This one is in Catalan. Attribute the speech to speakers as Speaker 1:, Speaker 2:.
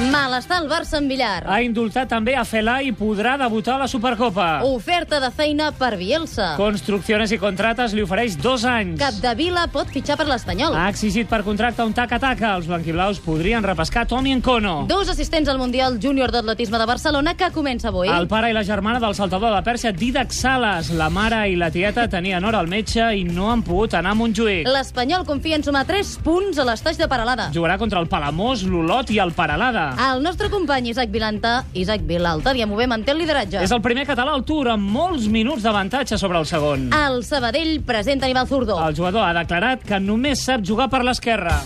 Speaker 1: Malestar al Barça en Villar.
Speaker 2: Ha indultat també a Felà i podrà debutar a la Supercopa.
Speaker 1: Oferta de feina per Bielsa.
Speaker 2: Construcciones i contrates li ofereix dos anys.
Speaker 1: Capdevila pot fitxar per l'Espanyol.
Speaker 2: Ha exigit per contracte un taca-taca. Els blanquiblaus podrien repescar Toni Encono.
Speaker 1: Dos assistents al Mundial Júnior d'Atletisme de Barcelona que comença avui.
Speaker 2: El pare i la germana del saltador de Pèrsia, Didac Sales. La mare i la tieta tenien hora al metge i no han pogut anar a Montjuïc.
Speaker 1: L'Espanyol confia en sumar 3 punts a l'estaix de Paralada.
Speaker 2: Jugarà contra el Palamós, l'Olot i el Paralada.
Speaker 1: El nostre company Isaac Vilanta, Isaac Vilalta, Diamové, manté el lideratge.
Speaker 2: És el primer català al Tour amb molts minuts d'avantatge sobre el segon.
Speaker 1: Ah, El Sabadell presenta Aníbal Zurdo.
Speaker 2: El jugador ha declarat que només sap jugar per l'esquerra.